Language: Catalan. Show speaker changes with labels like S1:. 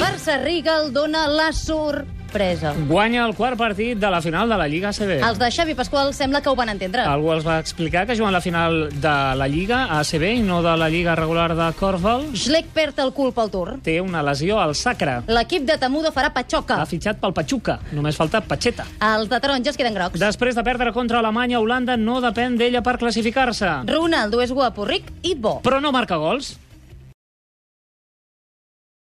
S1: Barça Rigal dona la sorpresa.
S2: Guanya el quart partit de la final de la Lliga ACB.
S1: Els de Xavi Pasqual sembla que ho van entendre.
S2: Algú els va explicar que juguen la final de la Lliga ACB i no de la Lliga regular de Corfball.
S1: Schleck perd el cul pel Tour.
S2: Té una lesió al sacre.
S1: L'equip de Tamudo farà patxoca.
S2: Ha fitxat pel Pachuca. Només falta Pacheta.
S1: Els de Taronja es queden grocs.
S2: Després de perdre contra Alemanya, Holanda no depèn d'ella per classificar-se.
S1: Ronaldo és guapo, ric i bo.
S2: Però no marca gols.